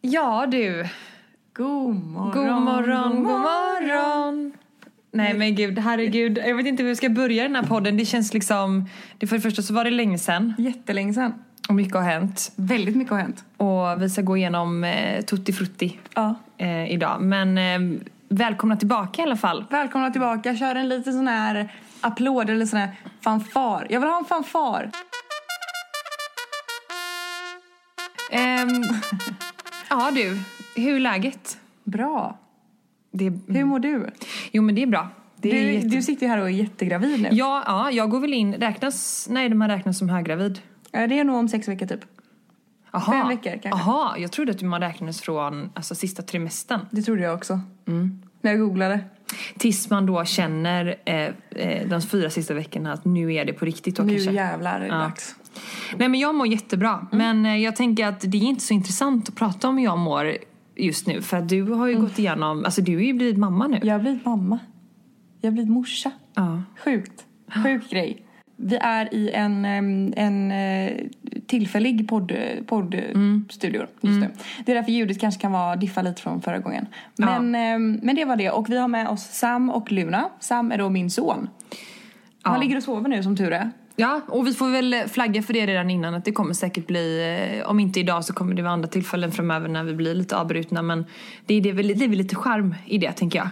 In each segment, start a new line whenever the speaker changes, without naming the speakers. Ja du,
God morgon.
god morgon, god morgon. Nej men gud, herregud. Jag vet inte hur vi ska börja den här podden. Det känns liksom... Det för det första så var det länge sedan
Jättelänge sedan.
och mycket har hänt.
Väldigt mycket har hänt.
Och vi ska gå igenom eh, Tutti Frutti
Ja.
eh, idag. Men eh, välkomna tillbaka i alla fall.
Välkomna tillbaka. Kör en liten sån här applåd eller sån här fanfar. Jag vill ha en fanfar.
Ehm, ja du, hur är läget?
Bra.
Det,
Hur mår du?
jo men det är bra. Det är
du,
jätte...
du sitter ju här och Mm. är jättegravid nu.
ja, ja, jag går väl in. Räknas... Nej, man räknas som höggravid.
Ja. Det är nog om sex veckor typ.
Aha.
Fem veckor, kanske.
Aha, jag trodde att man räknades från alltså, sista trimestern.
Det trodde jag också. Mm. När jag googlade.
Tills man då känner eh, eh, de fyra sista veckorna att nu är det på riktigt. Då,
Nu
kanske.
jävlar är det
Ja.
dags.
Nej men jag mår jättebra.
Mm.
Men eh, jag tänker att det är inte så intressant att prata om hur jag mår just nu. För att du har ju
Mm.
gått igenom, alltså du är ju blivit mamma nu.
Jag har blivit mamma. Jag har blivit morsa.
Ja.
Sjukt. Sjuk grej. Vi är i en, em, en eh, tillfällig poddstudio podd studio
Mm.
just nu. Det är därför ljudet kanske kan vara diffa lite från förra gången. Men, em, men det var det. Och vi har med oss Sam och Luna. Sam är då min son. Han ligger och sover nu som tur är.
ja, och vi får väl flagga för det redan innan att det kommer säkert bli, eh, om inte idag så kommer det vara andra tillfällen framöver när vi blir lite avbrutna. Men det är, det, är väl- det är väl lite charm i det tänker jag.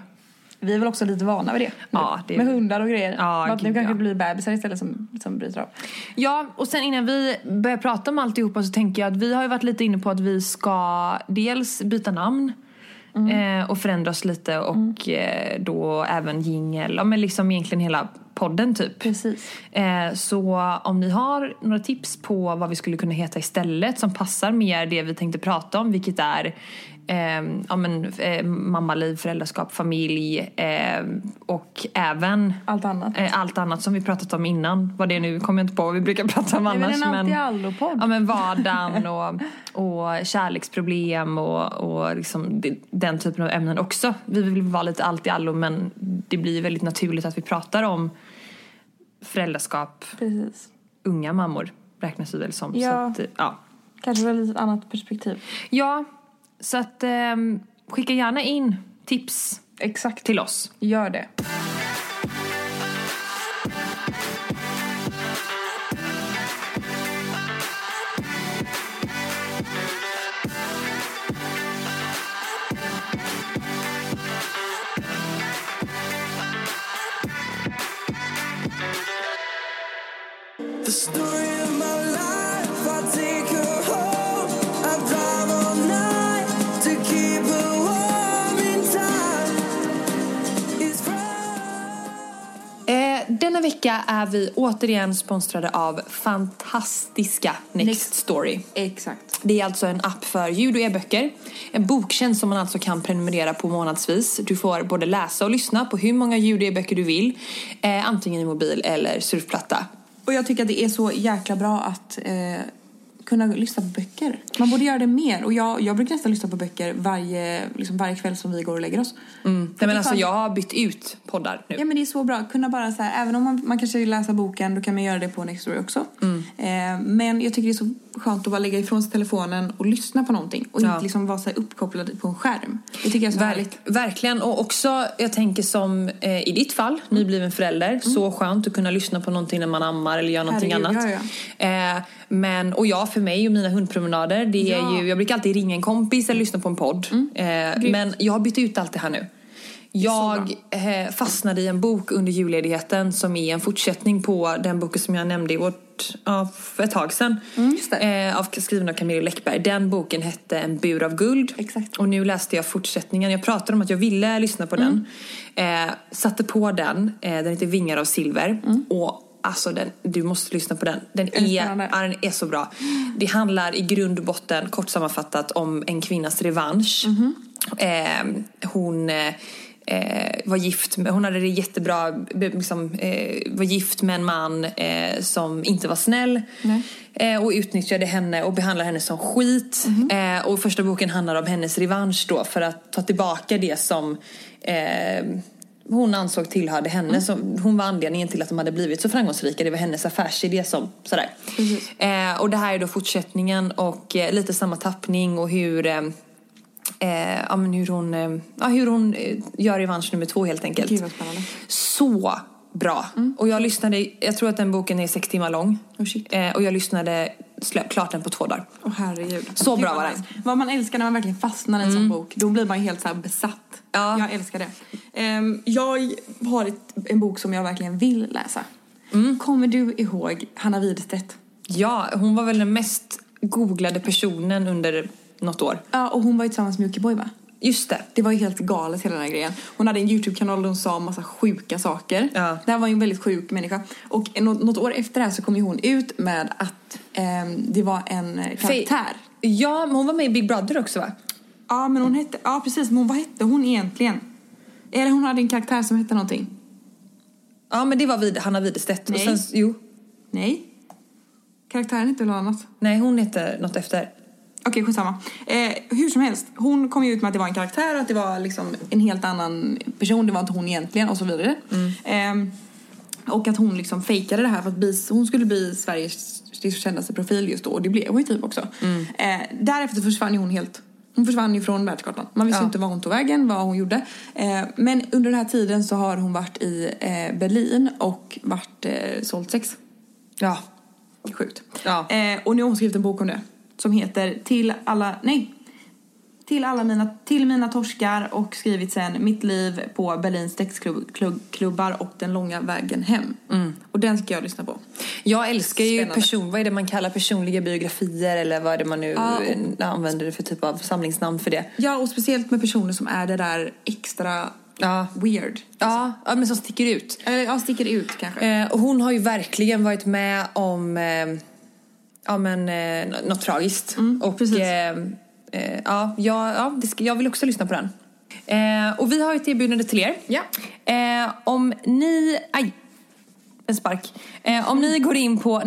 Vi är väl också lite vana vid det.
Ja, det är-
Med hundar och grejer.
Ja,
Men att nu
gud, ja.
kanske det blir bebisar istället som, som bryter av.
Ja, och sen innan vi börjar prata om alltihopa så tänker jag att vi har ju varit lite inne på att vi ska dels byta namn eh, och förändra oss lite och eh, då även jingel, ja men liksom egentligen hela podden typ.
Precis.
Eh, så om ni har några tips på vad vi skulle kunna heta istället som passar mer det vi tänkte prata om, vilket är eh, ja, men, eh, mammaliv, föräldraskap, familj eh, och även
Allt annat.
Eh, allt annat som vi pratat om innan. Vad det nu kommer jag inte på vad vi brukar prata om
Det är väl
annars.
en allt i allo-podd.
ja, men vardagen och, och kärleksproblem och, och liksom de- den typen av ämnen också. Vi vill vara lite allt i allo men det blir väldigt naturligt att vi pratar om föräldraskap,
Precis.
unga mammor räknas vi väl som. Så
Ja.
att, eh, ja.
Kanske väl ett annat perspektiv.
ja, så att ehm, skicka gärna in tips
Exakt.
till oss.
Gör det.
The story of my life, I take her home. I drive all night to keep her warm in time. It's Friday.
Eh, denna vecka är vi återigen sponsrade av fantastiska Next, Story.
Exakt.
Det är alltså en app för ljud och e-böcker. En boktjänst som man alltså kan prenumerera på månadsvis. Du får både läsa och lyssna på hur många ljud och e-böcker du vill. Eh, antingen i mobil eller surfplatta.
Och jag tycker att det är så jäkla bra att eh, kunna lyssna på böcker. Man borde göra det mer. Och jag, jag brukar nästan lyssna på böcker varje, liksom varje kväll som vi går och lägger oss. Mm.
Nej men alltså jag har bytt ut poddar nu.
Ja men det är så bra. Kunna bara så här, även om man, man kanske vill läsa boken, då kan man göra det på Next Story också.
Mm.
Eh, men jag tycker det är så skönt att bara lägga ifrån sig telefonen och lyssna på någonting. Och
Ja.
inte liksom vara så här uppkopplad på en skärm. Det tycker jag är så
Verk,
härligt.
verkligen. Och också, jag tänker som eh, i ditt fall, nybliven förälder. Så skönt att kunna lyssna på någonting när man ammar eller gör någonting
Mm. Herregud,
annat. Eh, men, och jag för mig och mina hundpromenader, det är
Ja. Mm.
ju, jag brukar alltid ringa en kompis eller lyssna på en podd. Eh, men jag har bytt ut allt det här nu. Jag eh, fastnade i en bok under julledigheten som är en fortsättning på den boken som jag nämnde i vårt, ja, för ett tag sedan.
Mm, just det.
Eh, av, skriven av Camilla Läckberg. Den boken hette En bur av guld.
Exakt.
Och nu läste jag fortsättningen. Jag pratade om att jag ville lyssna på den. Eh, satte på den. Eh, den heter Vingar av silver. Och alltså, den, du måste lyssna på den. Den
den
är,
spännande?
ja, den är så bra. Det handlar i grund och botten, kort sammanfattat, om en kvinnas revansch. Eh, hon... eh, Eh, var gift med, hon hade det jättebra, b- liksom, eh, var gift med en man eh, som inte var snäll eh, och utnyttjade henne och behandlade henne som skit. Eh, och första boken handlar om hennes revansch då för att ta tillbaka det som eh, hon ansåg tillhörde henne.
Mm.
Som, hon var anledningen till att de hade blivit så framgångsrika. Det var hennes affärsidé som sådär. Eh, och det här är då fortsättningen och eh, lite samma tappning och hur eh, eh, ja, men hur hon, eh, ja, hur hon eh, gör revansch nummer två helt enkelt.
Gud, vad spännande.
Så bra. Och jag lyssnade, jag tror att den boken är sex timmar lång.
Oh, shit.
eh, och jag lyssnade slö- klart den på två dagar.
Åh herregud.
Så
Gud,
bra
vad
var Mm.
nice. Vad man älskar när man verkligen fastnar i en sån bok. Då blir man ju helt så här besatt.
Ja.
Jag älskar det. Ehm, jag har ett, en bok som jag verkligen vill läsa.
Mm.
Kommer du ihåg Hanna Widstedt?
Ja, hon var väl den mest googlade personen under något år.
Ja, och hon var ju tillsammans med Jockiboi va?
Just det.
Det var ju helt galet hela den här grejen. Hon hade en YouTube-kanal där hon sa massa sjuka saker.
Ja.
Det här var ju en väldigt sjuk människa. Och nå- något år efter det här så kom ju hon ut med att ehm, det var en eh, karaktär.
Ja, men hon var med i Big Brother också va?
Ja, men hon hette... Ja, precis. Men hon- vad hette hon egentligen? Eller hon hade en karaktär som hette någonting.
Ja, men det var vid, Hanna Widestedt. Och sen,
Nej.
jo.
Nej. Karaktären hette väl något annat?
Nej, hon hette något efter.
Okej, skitsamma. Eh, hur som helst, hon kom ju ut med att det var en karaktär och att det var liksom en helt annan person. Det var inte hon egentligen och så vidare. Ehm, och att hon liksom fejkade det här för att bli, hon skulle bli Sveriges kändaste profil just då. Och det blev hon ju typ också. Eh, därefter försvann ju hon helt. Hon försvann ju från världskartan. Man visste
Ja.
inte var hon tog vägen, vad hon gjorde. Eh, men under den här tiden så har hon varit i eh, Berlin och varit eh, sålt sex.
Ja.
Sjukt.
Ja.
Eh, och nu har hon skrivit en bok om det. Som heter Till alla, nej. Till alla mina, till mina torskar och skrivit sen Mitt liv på Berlins sexklubbar och Den långa vägen hem.
Mm.
Och den ska jag lyssna på.
Jag älskar ju
Spännande.
person, vad är det man kallar personliga biografier eller vad är det man nu
Ja, och-
eh, använder för typ av samlingsnamn för det.
Ja, och speciellt med personer som är det där extra
Ja.
weird.
Ja, ja men som sticker ut.
Eller ja, sticker ut kanske.
Eh, och hon har ju verkligen varit med om eh, ja, men, eh, nå- något tragiskt. och,
Mm, precis.
Eh, eh, ja, ja, ja, det ska, jag vill också lyssna på den. Eh, och vi har ett erbjudande till er.
Ja.
Eh, om ni... Aj! En spark. Eh, om
Mm.
ni går in på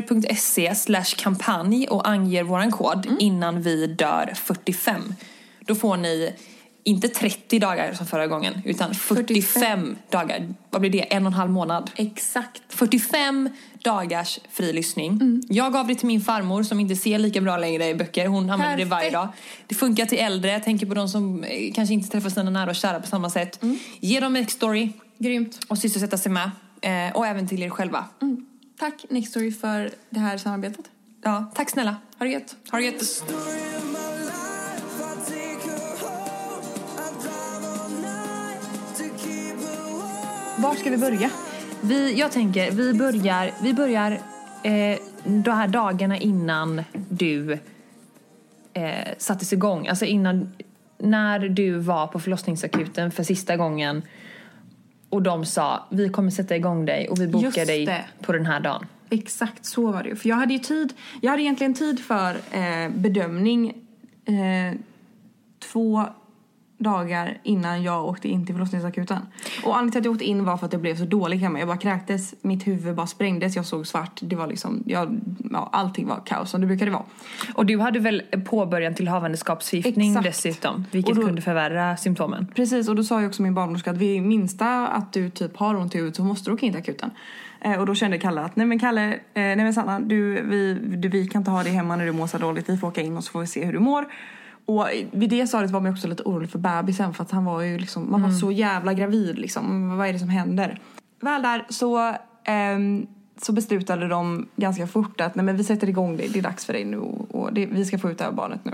nextstory.se slash kampanj och anger våran kod
Mm.
innan vi dör 45. Då får ni inte 30 dagar som förra gången utan 45,
45
dagar. Vad blir det? En och en halv månad.
Exakt.
45 dagars fri lyssning.
Mm.
Jag gav det till min farmor som inte ser lika bra längre i böcker. Hon använder det varje
Perfekt.
dag. Det funkar till äldre. Jag tänker på de som eh, kanske inte träffar sina nära och kära på samma sätt.
Mm.
Ge dem en story
Grymt.
och sysselsätta sig med. Eh, och även till er själva.
Mm. Tack Nextory för det här samarbetet.
Ja, tack snälla.
Ha det gött.
Ha det gött.
Story of my life, I take her home. I drive all night to keep her warm.
Var ska vi börja?
Vi, jag tänker, vi börjar, vi börjar eh, de här dagarna innan du eh, sattes igång. Alltså innan, när du var på förlossningsakuten för sista gången och de sa vi kommer sätta igång dig och vi bokar
Just
dig
det.
på den här dagen.
Exakt så var det ju. För jag hade ju tid, jag hade egentligen tid för eh, bedömning eh, två dagar innan jag åkte in till förlossningsakuten. Och anledningen till att jag åkte in var för att jag blev så dålig hemma. Jag bara kräktes, mitt huvud bara sprängdes, jag såg svart. Det var liksom, jag, ja, allting var kaos som det brukade vara.
Och du hade väl påbörjan till havandeskapsförgiftning
Exakt.
dessutom vilket
Och då-
kunde förvärra symptomen.
Precis, och då sa ju också min barnmorska att vid minsta att du typ har ont i huvudet så måste du åka in till akuten. Eh, och då kände Kalle att nej men Kalle, eh, nej men Sanna, du, vi, du, vi kan inte ha dig hemma när du mår så dåligt. Vi får åka in och så får vi se hur du mår. Och vid det stadiet var man ju också lite orolig för bebisen för att han var ju liksom, man var så jävla gravid liksom. Vad är det som händer? Väl där så, ehm, så beslutade de ganska fort att nej men vi sätter igång dig, det är dags för dig nu och, och det, vi ska få ut det här barnet nu.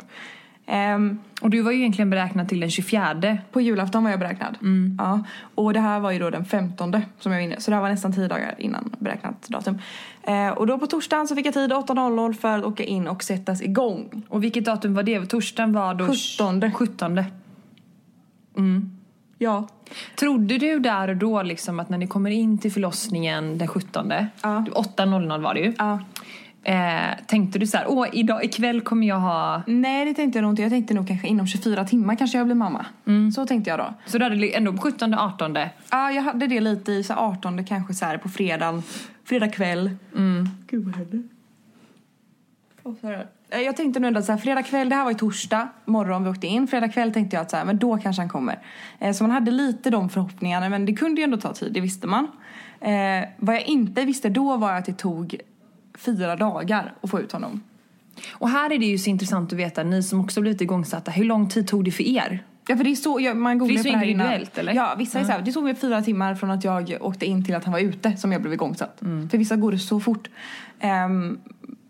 Ehm,
Och du var ju egentligen beräknad till den 24
på julafton var jag beräknad. Ja. Och det här var ju då den 15 som jag var inne. Så det här var nästan 10 dagar innan beräknat datum. Eh, och då på torsdagen så fick jag tid 8.00 för att åka in och sättas igång.
Och vilket datum var det? Torsdagen var då...
17.
17.
Ja.
Trodde du där och då liksom att när ni kommer in till förlossningen den 17,
Ja.
8.00 var det ju.
ja.
Eh, tänkte du så här, åh idag, ikväll kommer jag ha...
Nej det tänkte jag nog inte. Jag tänkte nog kanske inom 24 timmar kanske jag blir mamma. Så tänkte jag då.
Så du hade li- ändå 17, 18.
Ja jag hade det lite i så här 18 kanske så här på fredag, fredag kväll. Mm. Gud vad hände? Och så här. Eh, Jag tänkte nu ändå att så här, fredag kväll, det här var ju torsdag morgon vi åkte in. Fredag kväll tänkte jag att så här, men då kanske han kommer. Eh, Så man hade lite de förhoppningarna men det kunde ju ändå ta tid, det visste man. Eh, vad jag inte visste då var att det tog fyra dagar att få ut honom.
Och här är det ju så intressant att veta, ni som också blivit igångsatta, hur lång tid tog det för er?
Ja för det är så, ja, man googlar
Det är så
på här innan.
individuellt, eller?
Ja, vissa är så här, det tog mig fyra timmar från att jag åkte in till att han var ute som jag blev igångsatt.
Mm.
För vissa går det så fort. Ehm,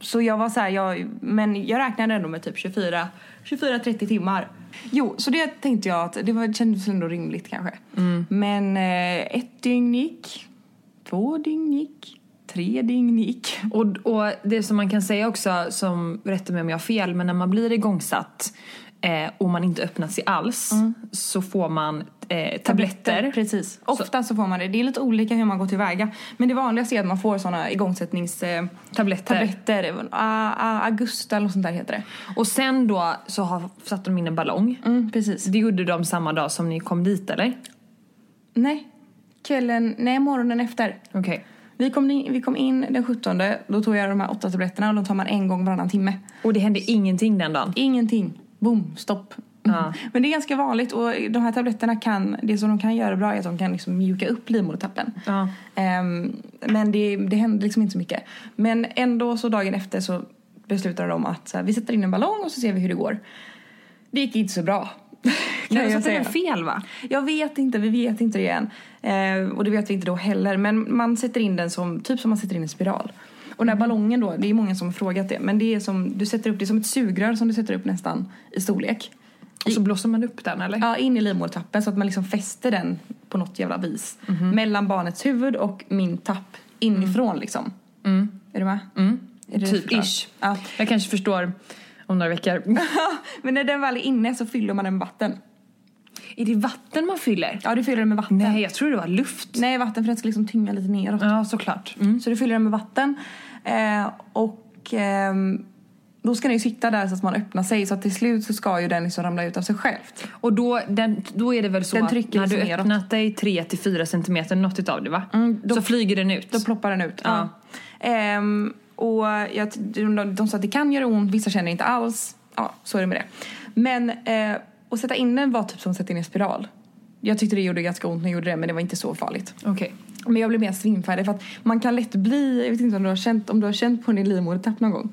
så jag var så här, jag, men jag räknade ändå med typ 24, 24-30 timmar. Jo, så det tänkte jag att det, var, det kändes ändå rimligt kanske.
Mm.
Men eh, ett dygn gick, två dygn gick, tre dygn gick.
Och, och det som man kan säga också, som rätta mig om jag har fel, men när man blir igångsatt eh, och man inte öppnat sig alls så får man eh, tabletter.
Precis. Ofta så. får man det. Det är lite olika hur man går tillväga. Men det vanligaste är att man får såna igångsättnings... eh,
Tabletter.
Tabletter. A, a, Augusta ah, eller något sånt där heter det.
Och sen då så har, satte de in en ballong.
Mm, precis.
Det gjorde de samma dag som ni kom dit eller?
Nej. Kvällen... Nej, morgonen efter.
Okej.
Vi kom, in, vi kom in den 17. Då tog jag de här åtta tabletterna och de tar man en gång varannan timme.
Och det hände ingenting den dagen?
Ingenting. Boom, stopp.
Ja.
Men det är ganska vanligt och de här tabletterna kan, det som de kan göra bra är att de kan liksom mjuka upp livmodertappen.
Ja.
Ehm, men det, det händer liksom inte så mycket. Men ändå så dagen efter så beslutar de att så här, vi sätter in en ballong och så ser vi hur det går. Det gick inte så bra. kan
Nej,
jag
jag
säga.
satte fel va?
Jag vet inte, vi vet inte det än. Ehm, och det vet vi inte då heller. Men man sätter in den som, typ som man sätter in en spiral. Och den
Mm.
här ballongen då, det är många som har frågat det. Men det är som, du sätter upp det är som ett sugrör som du sätter upp nästan i storlek.
Och så blåser man upp den eller?
Ja, in i livmodertappen så att man liksom fäster den på något jävla vis.
Mhm.
Mellan barnets huvud och min tapp inifrån liksom. Är du med? Är du
Mm. Typ
förklar?
ish.
Ja.
Jag kanske förstår om några veckor.
Men när den väl är inne så fyller man den med vatten.
är det vatten man fyller?
Ja, du fyller den med vatten.
Nej, jag tror det var luft. Mm.
Nej, vatten för den ska liksom tynga lite neråt.
Ja, såklart.
Så du fyller den med vatten. Eh, och ehm, då ska den ju sitta där så att man öppnar sig. Så att till slut så ska ju den liksom ramla ut av sig självt.
Och då, den, då är det väl så
Den
att
trycker
när du
liksom neråt.
öppnat dig 3-4 centimeter, något utav det va? så flyger den ut.
Då ploppar den ut.
Ja.
Ehm, och jag, de, de, de sa att det kan göra ont, vissa känner inte alls. Ja, så är det med det. Men eh, att sätta in den var typ som att sätta in en spiral. Jag tyckte det gjorde ganska ont när jag gjorde det men det var inte så farligt.
Okej.
Men jag blev mer svimfärdig för att man kan lätt bli, jag vet inte om du har känt, om du har känt på din livmodertapp någon gång?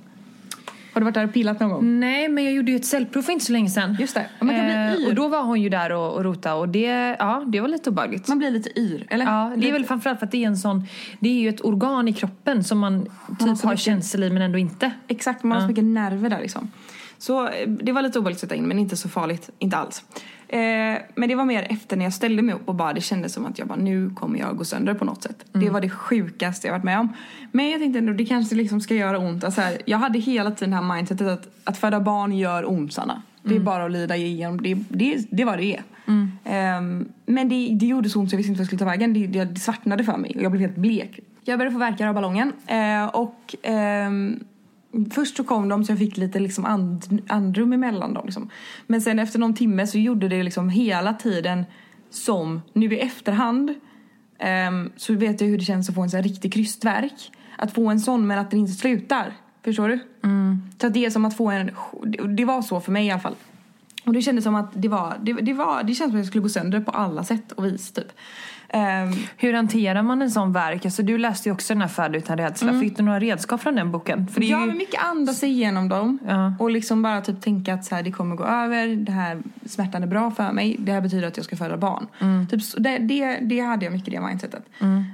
Har du varit där och pillat någon gång?
Nej, men jag gjorde ju ett cellprov för inte så länge sedan.
Just det. Ja, man kan bli yr.
Eh, och då var hon ju där och, och rota och det, ja, det var lite obehagligt.
Man blir lite yr, eller?
Ja, det är väl framförallt för att det är en sån, det är ju ett organ i kroppen som man
har
typ
så
har
mycket-
känsel i men ändå inte.
Exakt, man har så mycket nerver där liksom. Så eh, det var lite obehagligt att sätta in men inte så farligt, inte alls. Eh, men det var mer efter när jag ställde mig upp och bara det kändes som att jag bara nu kommer jag gå sönder på något sätt. Det var det sjukaste jag varit med om. Men jag tänkte ändå det kanske liksom ska göra ont. Alltså här, jag hade hela tiden det här mindsetet att, att föda barn gör ont Sanna. Det är bara att lida igenom, det, det, det var det är. Ehm, men det, det gjorde så ont så jag visste inte vad jag skulle ta vägen. Det, det, det svartnade för mig och jag blev helt blek. Jag började få värkar av ballongen eh, och ehm, Först så kom de så jag fick lite liksom and, andrum emellan dem. Liksom. Men sen efter någon timme så gjorde det liksom hela tiden som nu i efterhand ehm, så vet jag hur det känns att få en sån här riktig krystvärk. Att få en sån men att den inte slutar. Förstår du? Så att det är som att få en... Det var så för mig i alla fall. Och det kändes som att det var... Det, det, var, det kändes som att jag skulle gå sönder på alla sätt och vis typ. Ehm,
Hur hanterar man en sån värk? Alltså, du läste ju också den här Färd utan rädsla. Fick du några redskap från den boken? För det är
Mm. Ja,
ju-
men mycket andas sig igenom dem.
Ja.
Och liksom bara typ tänka att så här, det kommer gå över, det här smärtan är bra för mig, det här betyder att jag ska föda barn.
Mm.
Typ, så, det, det, det hade jag mycket i det mindsetet.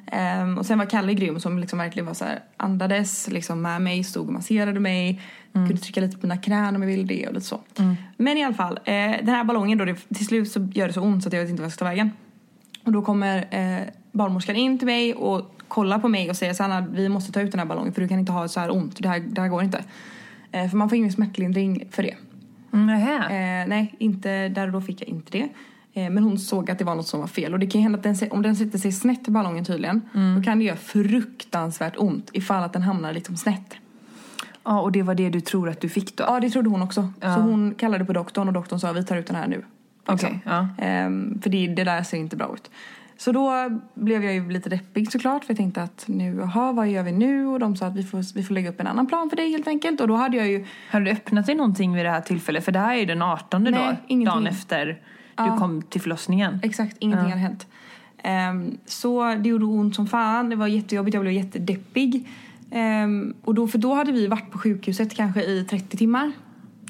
Ehm, och sen var Kalle grym som liksom verkligen var så här, andades liksom med mig, stod och masserade mig.
Mm.
Kunde trycka lite på mina knän om jag ville det och lite så. Men i alla fall, eh, den här ballongen då, det, till slut så gör det så ont så att jag vet inte vad jag ska ta vägen. Och då kommer eh, barnmorskan in till mig och kollar på mig och säger Sanna vi måste ta ut den här ballongen för du kan inte ha så här ont, det här, det här går inte. Eh, för man får ingen smärtlindring för det.
Mm, Nähä.
Eh, nej, inte där och då fick jag inte det. Eh, men hon såg att det var något som var fel. Och det kan ju hända att den, se- om den sätter sig snett i ballongen tydligen, då kan det göra fruktansvärt ont ifall att den hamnar liksom snett.
Ja, och det var det du tror att du fick liksom. då?
Ja, det trodde hon också. Så hon kallade på doktorn och doktorn sa vi tar ut den här nu. Liksom.
Okej, ja.
Ehm, för det, det där ser inte bra ut. Så då blev jag ju lite deppig såklart för jag tänkte att nu, jaha vad gör vi nu? Och de sa att vi får, vi får lägga upp en annan plan för dig helt enkelt. Och då hade jag ju
Har du öppnat dig någonting vid det här tillfället? För det här är ju den 18
Nej,
då,
ingenting.
dagen efter du kom till förlossningen.
Exakt, ingenting hade hänt. Ehm, så det gjorde ont som fan, det var jättejobbigt, jag blev jättedeppig. Ehm, och då, för då hade vi varit på sjukhuset kanske i 30 timmar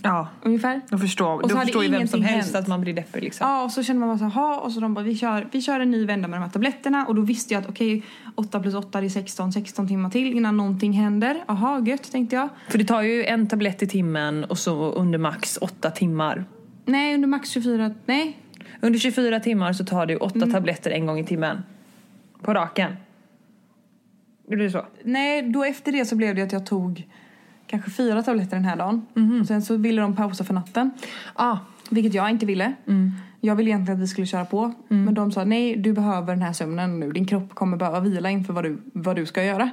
Ja.
ungefär.
Då förstår,
så
då
hade
förstår ju vem som
ingenting
helst
hänt.
att man blir deppig liksom.
Ja, och så kände man bara så här, "Ha", och så de bara, vi kör, vi kör en ny vända med de här tabletterna. Och då visste jag att okej, 8 plus 8 det är 16, 16 timmar till innan någonting händer. Jaha, gött tänkte jag.
För det tar ju en tablett i timmen och så under max åtta timmar.
Nej, under max 24, nej.
Under 24 timmar så tar du åtta
Mm.
tabletter en gång i timmen. På raken. Gjorde du så?
Nej, då efter det så blev det att jag tog kanske fyra tabletter den här dagen. Och sen så ville de pausa för natten. Ah.
Ja.
Vilket jag inte ville. Jag ville egentligen att vi skulle köra på. Men de sa nej, du behöver den här sömnen nu. Din kropp kommer behöva vila inför vad du, vad du ska göra.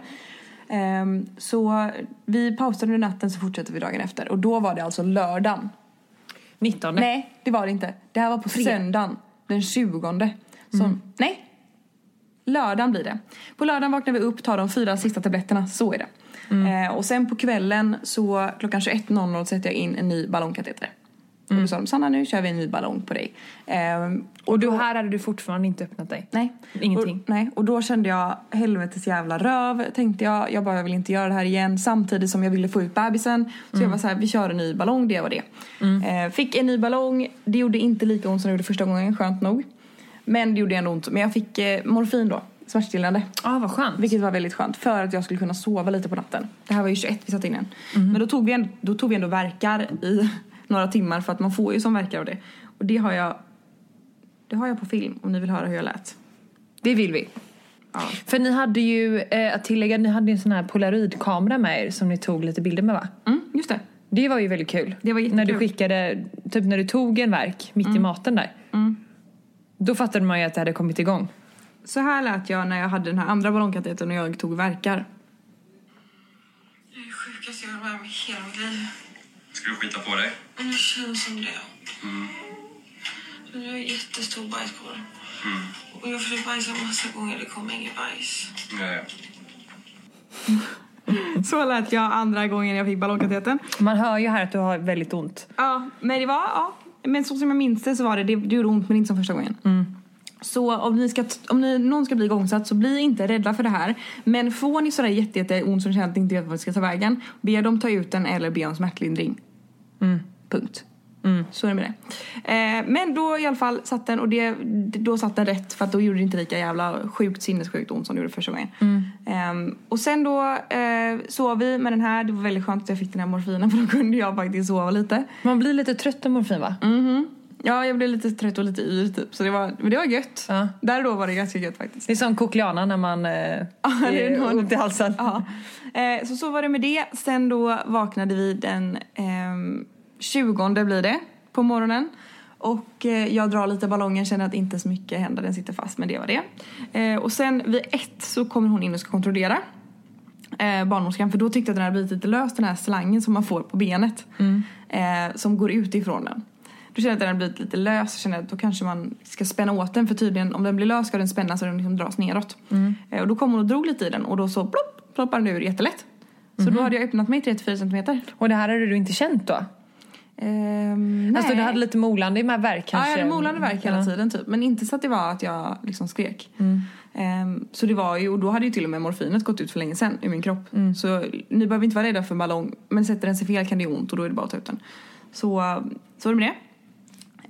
Ehm, så vi pausade under natten så fortsatte vi dagen efter. Och då var det alltså lördagen.
19.
Nej, det var det inte. Det här var på söndagen den 20. Som, Nej, lördagen blir det. På lördagen vaknar vi upp, tar de fyra sista tabletterna. Så är det. Eh, och sen på kvällen så klockan 21.00 sätter jag in en ny ballongkateter. Och då sa de Sanna nu kör vi en ny ballong på dig. Ehm,
Och då här hade du fortfarande inte öppnat dig?
Nej.
Ingenting.
Och, nej, och då kände jag helvetes jävla röv tänkte jag. Jag bara jag vill inte göra det här igen samtidigt som jag ville få ut bebisen. Så jag var så här vi kör en ny ballong det var det. Eh, fick en ny ballong. Det gjorde inte lika ont som det gjorde första gången skönt nog. Men det gjorde ändå ont. Men jag fick eh, morfin då. Smärtstillande.
ah, vad skönt.
Vilket var väldigt skönt för att jag skulle kunna sova lite på natten. Det här var ju 21 vi satte in den. Men då tog, vi ändå, då tog vi ändå verkar i några timmar för att man får ju som verkar av det. Och det har jag, det har jag på film om ni vill höra hur jag lät.
Det vill vi. För ni hade ju, eh, att tillägga, ni hade ju en sån här polaroidkamera med er som ni tog lite bilder med va?
Mm, just det.
Det var ju väldigt kul.
Det var jättekul. Mm.
När du skickade, typ när du tog en verk mitt i maten där. Då fattade man ju att det hade kommit igång.
Så här lät jag när jag hade den här andra ballongkatetern och jag tog verkar.
Det är det sjukaste jag har varit med om i hela mitt liv.
Ska du skita på dig?
Men Det känns som det. Men Jag har jättestor bajskorv. Och jag försöker bajsa massa gånger, det kommer ingen bajs.
Nej.
Så lät jag andra gången jag fick ballongkatetern.
Man hör ju här att du har väldigt ont.
Ja, men det var, ja. Men så som jag minns det så var det, det, det gjorde ont men inte som första gången. Så om, ni ska, om ni, någon ska bli igångsatt så bli inte rädda för det här. Men får ni sådär jätte, jätte ont som känner att ni inte vet vad ni ska ta vägen, be dem ta ut den eller be om smärtlindring. Punkt. Så är det med det. Eh, men då i alla fall satt den och det, då satt den rätt för att då gjorde det inte lika jävla sjukt sinnessjukt ont som det gjorde första gången. Eh, och sen då eh, sov vi med den här. Det var väldigt skönt att jag fick den här morfinen för då kunde jag faktiskt sova lite.
Man blir lite trött av morfin
Mm.
va?
Mm-hmm. Ja, jag blev lite trött och lite yr typ. Så det var, men det var gött.
Ja.
Där och då var det ganska gött faktiskt.
Det är som kokliana när man eh,
det är
eh,
någon-
ont i halsen.
Ja. Eh, så så var det med det. Sen då vaknade vi den ehm, 20 blir det, på morgonen. Och eh, jag drar lite ballongen, känner att inte så mycket händer, den sitter fast, men det var det. Eh, och sen vid ett så kommer hon in och ska kontrollera. Eh, barnmorskan, för då tyckte jag att den hade blivit lite lös, den här slangen som man får på benet. Eh, som går ut ifrån den. Då känner jag att den har blivit lite lös och känner att då kanske man ska spänna åt den för tydligen om den blir lös ska den spännas och den liksom dras neråt.
Mm.
Eh, och då kom hon och drog lite i den och då så plopp, ploppade den ur jättelätt. Så
Mm-hmm.
då hade jag öppnat mig 3-4 centimeter.
Och det här hade du inte känt då?
Ehm, nej.
Alltså du hade lite molande med värk
Ja,
kanske?
jag hade molande värk hela tiden typ. Men inte så att det var att jag liksom skrek.
Mm.
Ehm, så det var ju, och då hade ju till och med morfinet gått ut för länge sedan i min kropp.
Mm.
Så ni behöver inte vara rädda för en ballong. Men sätter den sig fel kan det göra ont och då är det bara att ta ut den. Så, så var det med det.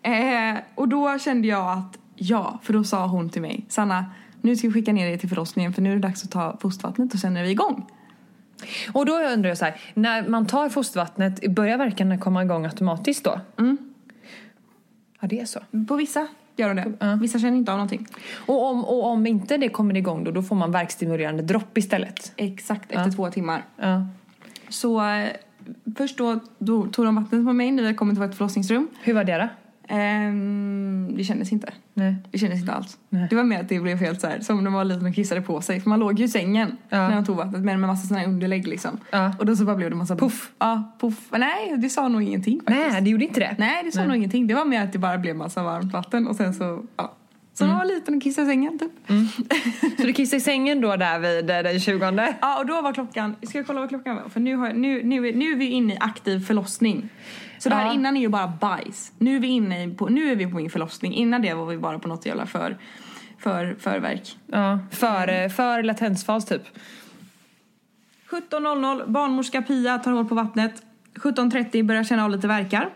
Eh, och då kände jag att ja, för då sa hon till mig Sanna, nu ska vi skicka ner dig till förlossningen för nu är det dags att ta fostervattnet och sen är vi igång.
Och då undrar jag så här, när man tar fostervattnet, börjar verkarna komma igång automatiskt då?
Mm.
Ja, det är så.
På vissa gör hon det.
Ja.
Vissa känner inte av någonting.
Och om, och om inte det kommer igång då, då får man verkstimulerande dropp istället?
Exakt efter två timmar.
Ja.
Så eh, först då, då tog de vattnet på mig när vi kom till vårt förlossningsrum.
Hur var det då?
Ehm, det kändes inte.
Nej.
Det kändes inte alls.
Nej.
Det var mer att det blev helt så här, som när man var liten och kissade på sig. För man låg ju i sängen
Ja.
när de tog vattnet men med massa såna här underlägg liksom.
Ja.
Och då så bara blev det massa
Puff.
Ja, puff. Nej, det sa nog ingenting faktiskt.
Nej, det gjorde inte det?
Nej, det sa nog ingenting. Det var mer att det bara blev massa varmt vatten och sen så, ja. Så
Mm.
när man var liten och kissade i sängen typ.
Så du kissade i sängen då där vid eh, den 20?
Ja, och då var klockan... Ska jag kolla vad klockan var? För nu, har jag, nu, nu, är- nu är vi inne i aktiv förlossning. Så det här
Ja.
innan är ju bara bajs. Nu är vi inne i, på, nu är vi på min förlossning. Innan det var vi bara på något jävla för, för, förverk.
Ja, för, eh, för latensfas typ?
17.00, barnmorska Pia tar hål på vattnet. 17.30 börjar känna av lite verkar.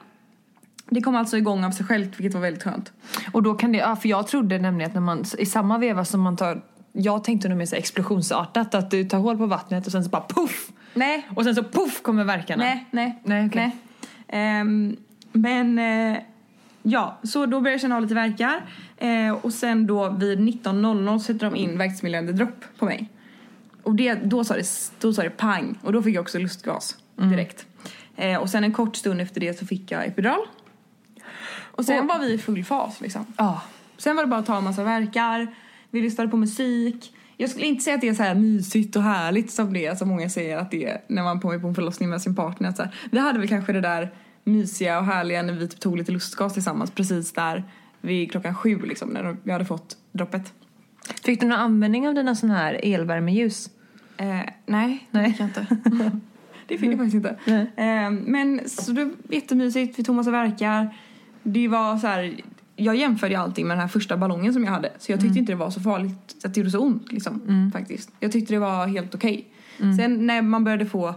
Det kom alltså igång av sig självt, vilket var väldigt skönt.
Och då kan det, ja, för jag trodde nämligen att när man, i samma veva som man tar, jag tänkte nog mer så här explosionsartat att du tar hål på vattnet och sen så bara poff!
Nej,
Och sen så poff kommer verkarna.
Nej, nej.
Nej, okej.
Ehm, men eh, ja, så då börjar jag känna av lite verkar. Eh, och sen då vid 19.00 sätter de in verksamhetslöjande dropp på mig. Och det, då, sa det, då sa det pang och då fick jag också lustgas
Mm.
direkt. Eh, och sen en kort stund efter det så fick jag epidural. Och sen var vi i full fas liksom.
Ja.
Sen var det bara att ta en massa verkar. Vi lyssnade på musik. Jag skulle inte säga att det är så här mysigt och härligt som det är som många säger att det är när man kommer på en förlossning med sin partner. Att Så här. Vi hade väl kanske det där mysiga och härliga när vi typ tog lite lustgas tillsammans precis där vid klockan sju liksom när vi hade fått droppet.
Fick du någon användning av dina sådana här elvärmeljus?
Eh, nej, nej. Jag inte. det fick jag faktiskt inte. Eh, men så det var jättemysigt, vi tog massa verkar. Det var så här, jag jämförde ju allting med den här första ballongen som jag hade. Så jag tyckte inte det var så farligt att det gjorde så ont liksom, faktiskt. Jag tyckte det var helt okej. Sen när man började få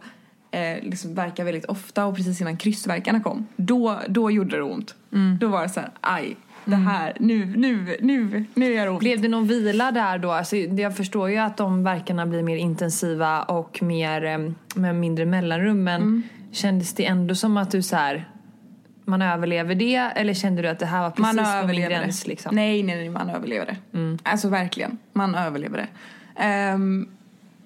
eh, liksom verka väldigt ofta och precis innan kryssverkarna kom. Då, då gjorde det ont. Då var det så här, aj. Det här, nu, nu, nu, nu gör det ont.
Blev det någon vila där då? Alltså, jag förstår ju att de verkarna blir mer intensiva och mer, eh, med mindre mellanrum men kändes det ändå som att du så här man överlever det eller kände du att det här var precis
man
på min
överlever
gräns
det.
liksom? Mm.
Nej, nej, nej, man överlever det. Alltså verkligen, man överlever det. Ehm,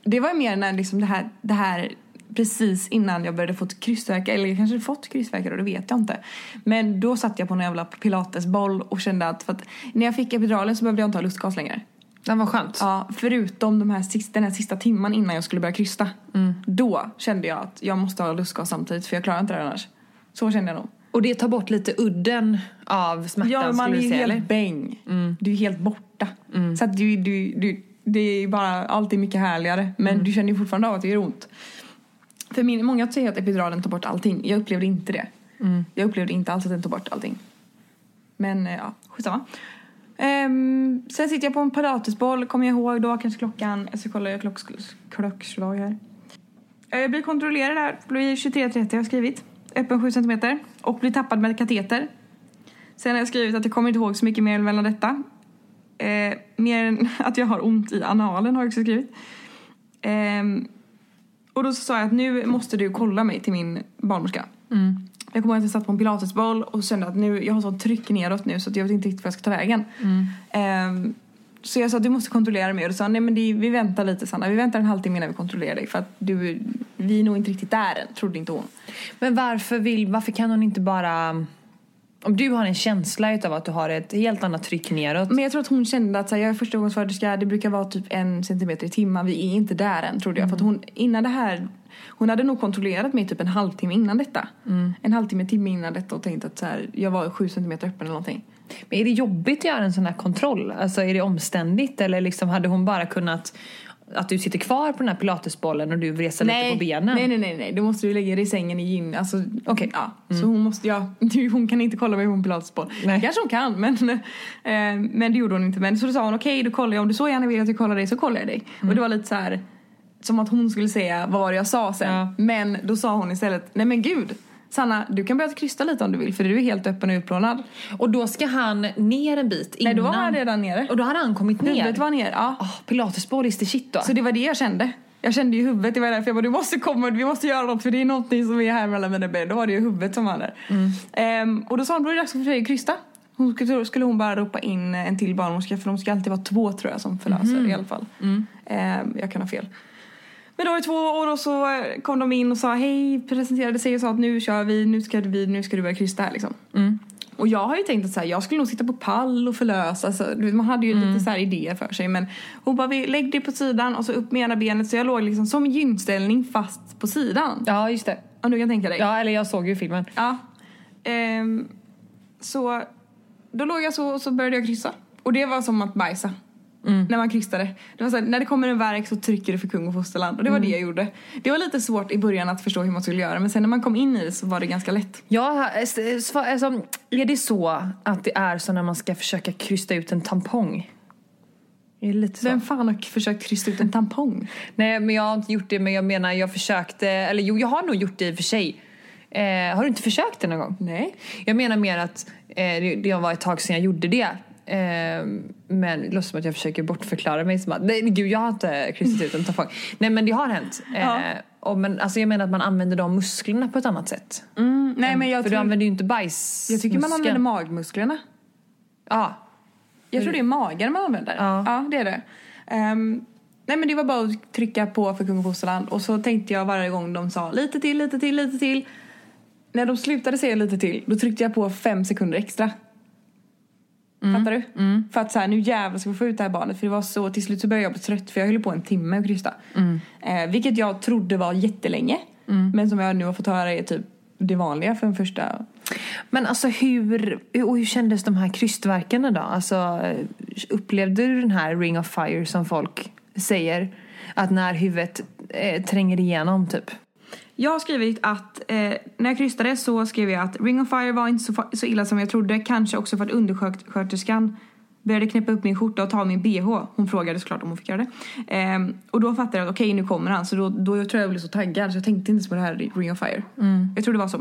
det var ju mer när liksom det här, det här precis innan jag började få kryssverkar, eller jag kanske fått kryssverkar och det vet jag inte. Men då satt jag på en jävla pilatesboll och kände att, för att när jag fick epiduralen så behövde jag inte ha lustgas längre.
Det var skönt.
Ja, förutom de här sista, den här sista timman innan jag skulle börja krysta.
Mm.
Då kände jag att jag måste ha lustgas samtidigt för jag klarar inte det här annars. Så kände jag nog.
Och det tar bort lite udden av smärtan
Ja, man är
skulle
ju
du säga
helt
eller? Mm.
bäng. Du är helt borta. Så att du, du, du, det är ju bara, allt är mycket härligare. Men
Mm.
du känner ju fortfarande av att det gör ont. För min, många säger att epiduralen tar bort allting. Jag upplevde inte det.
Mm.
Jag upplevde inte alls att den tog bort allting. Men eh, ja, skitsamma. Ehm, sen sitter jag på en pilatesboll, kommer jag ihåg. Då var kanske klockan... Jag ska kolla, jag klock, klockslag här. Eh, Jag blir kontrollerad här. Blir 23.30 har jag skrivit. Öppen 7 cm. Och blir tappad med kateter. Sen har jag skrivit att jag kommer inte ihåg så mycket mer mellan detta. Eh, mer än att jag har ont i analen har jag också skrivit. Ehm, och då så sa jag att nu måste du kolla mig till min barnmorska. Jag kommer ihåg att jag satt på en pilatesboll och kände att nu, jag har sånt tryck neråt nu så att jag vet inte riktigt vad jag ska ta vägen. Ehm, så jag sa att du måste kontrollera mig och då sa han, nej men det, vi väntar lite Sanna, vi väntar en halvtimme innan vi kontrollerar dig för att du, vi är nog inte riktigt där än, trodde inte hon.
Men varför, vill, varför kan hon inte bara... Om du har en känsla utav att du har ett helt annat tryck neråt.
Men jag tror att hon kände att så här, jag är förstagångsföderska, det brukar vara typ en centimeter i timmen, vi är inte där än trodde jag. För att hon, innan det här, hon hade nog kontrollerat mig typ en halvtimme innan detta. En halvtimme, timme innan detta och tänkt att så här, jag var sju centimeter öppen eller någonting.
Men är det jobbigt att göra en sån här kontroll? Alltså är det omständigt eller liksom hade hon bara kunnat att du sitter kvar på den här pilatesbollen och du vretar lite på benen?
nej, nej, nej, nej, då måste du lägga dig i sängen i gyn. Alltså,
Okej.
ja. Så hon måste, ja, hon kan inte kolla mig på en pilatesboll.
Mm. Nej.
Kanske hon kan, men, eh, men det gjorde hon inte. Men så då sa hon okej, då kollar jag. Om du så gärna vill att jag kollar dig så kollar jag dig. Och
Mm.
det var lite så här som att hon skulle säga vad var det jag sa sen.
Ja.
Men då sa hon istället, nej men gud. Sanna, du kan börja krysta lite om du vill för du är helt öppen och utplånad.
Och då ska han ner en bit innan?
Nej, då var han redan nere.
Och då hade han kommit ner?
Huvudet var ner, ja.
Ah, pilatesboll is the shit då.
Så det var det jag kände. Jag kände ju huvudet, det var därför jag bara du måste komma, vi måste göra något för det är någonting som är här mellan mina ben. Då var det ju huvudet som var där. Ehm, och då sa hon, då är det dags för dig att krysta. Hon skulle, skulle hon bara ropa in en till barnmorska för de ska alltid vara två tror jag som förlöser i alla fall. Ehm, jag kan ha fel. Men då var det två år och så eh, kom de in och sa hej, presenterade sig och sa att nu kör vi, nu ska, vi, nu ska du börja krysta här liksom.
Mm.
Och jag har ju tänkt att så här, jag skulle nog sitta på pall och förlösa. Så, du vet, man hade ju
Mm.
lite så här idéer för sig. Men hon bara, "Vi- lägg dig på sidan och så upp med ena benet. Så jag låg liksom som i gynställning fast på sidan.
Ja, just det.
Om du kan tänka dig.
Ja, eller jag såg ju filmen.
Ja. Ehm, så då låg jag så och så började jag kryssa. Och det var som att bajsa. När man krystade. Det var så här, när det kommer en värk så trycker du för kung och fosterland. Och det var det jag gjorde. Det var lite svårt i början att förstå hur man skulle göra. Men sen när man kom in i det så var det ganska lätt.
Ja, eh, s- s- alltså, är det så att det är så när man ska försöka krysta ut en tampong? Det är lite så.
Vem fan har försökt krysta ut en tampong?
Nej, men jag har inte gjort det. Men jag menar, jag försökte. Eller jo, jag har nog gjort det i och för sig. Eh, har du inte försökt det någon gång?
Nej.
Jag menar mer att eh, det, det var ett tag sedan jag gjorde det. Eh, men det låter som att jag försöker bortförklara mig. Som att, nej, gud, jag har inte kristat ut en tampong. Nej, men det har hänt. Eh,
Ja.
och, men, alltså, jag menar att man använder de musklerna på ett annat sätt.
Mm, nej men jag,
För
tror,
du använder ju inte bajs.
jag tycker man använder magmusklerna.
Ja.
Jag tror det är magen man använder.
Ja.
det är det. Ehm, nej men det var bara att trycka på för kung och fosterland och så tänkte jag varje gång de sa lite till, lite till, lite till. När de slutade säga lite till, då tryckte jag på fem sekunder extra. Fattar du? För att så här, nu jävlar ska vi få ut det här barnet. För det var så, till slut så började jag bli trött för jag höll på en timme att krysta. Eh, vilket jag trodde var jättelänge. Men som jag nu har fått höra är typ det vanliga för en första
Men alltså hur, och hur kändes de här krystverkarna då? Alltså, eh, upplevde du den här ring of fire som folk säger? Att när huvudet eh, tränger igenom typ?
Jag har skrivit att eh, när jag krystade så skrev jag att Ring of Fire var inte så, fa- så illa som jag trodde. Kanske också för att undersköterskan började knäppa upp min skjorta och ta min bh. Hon frågade såklart om hon fick göra det. Ehm, och då fattade jag att okej nu kommer han. Så då, då jag tror jag blev så taggad så jag tänkte inte ens på det här Ring of Fire. Jag tror det var så.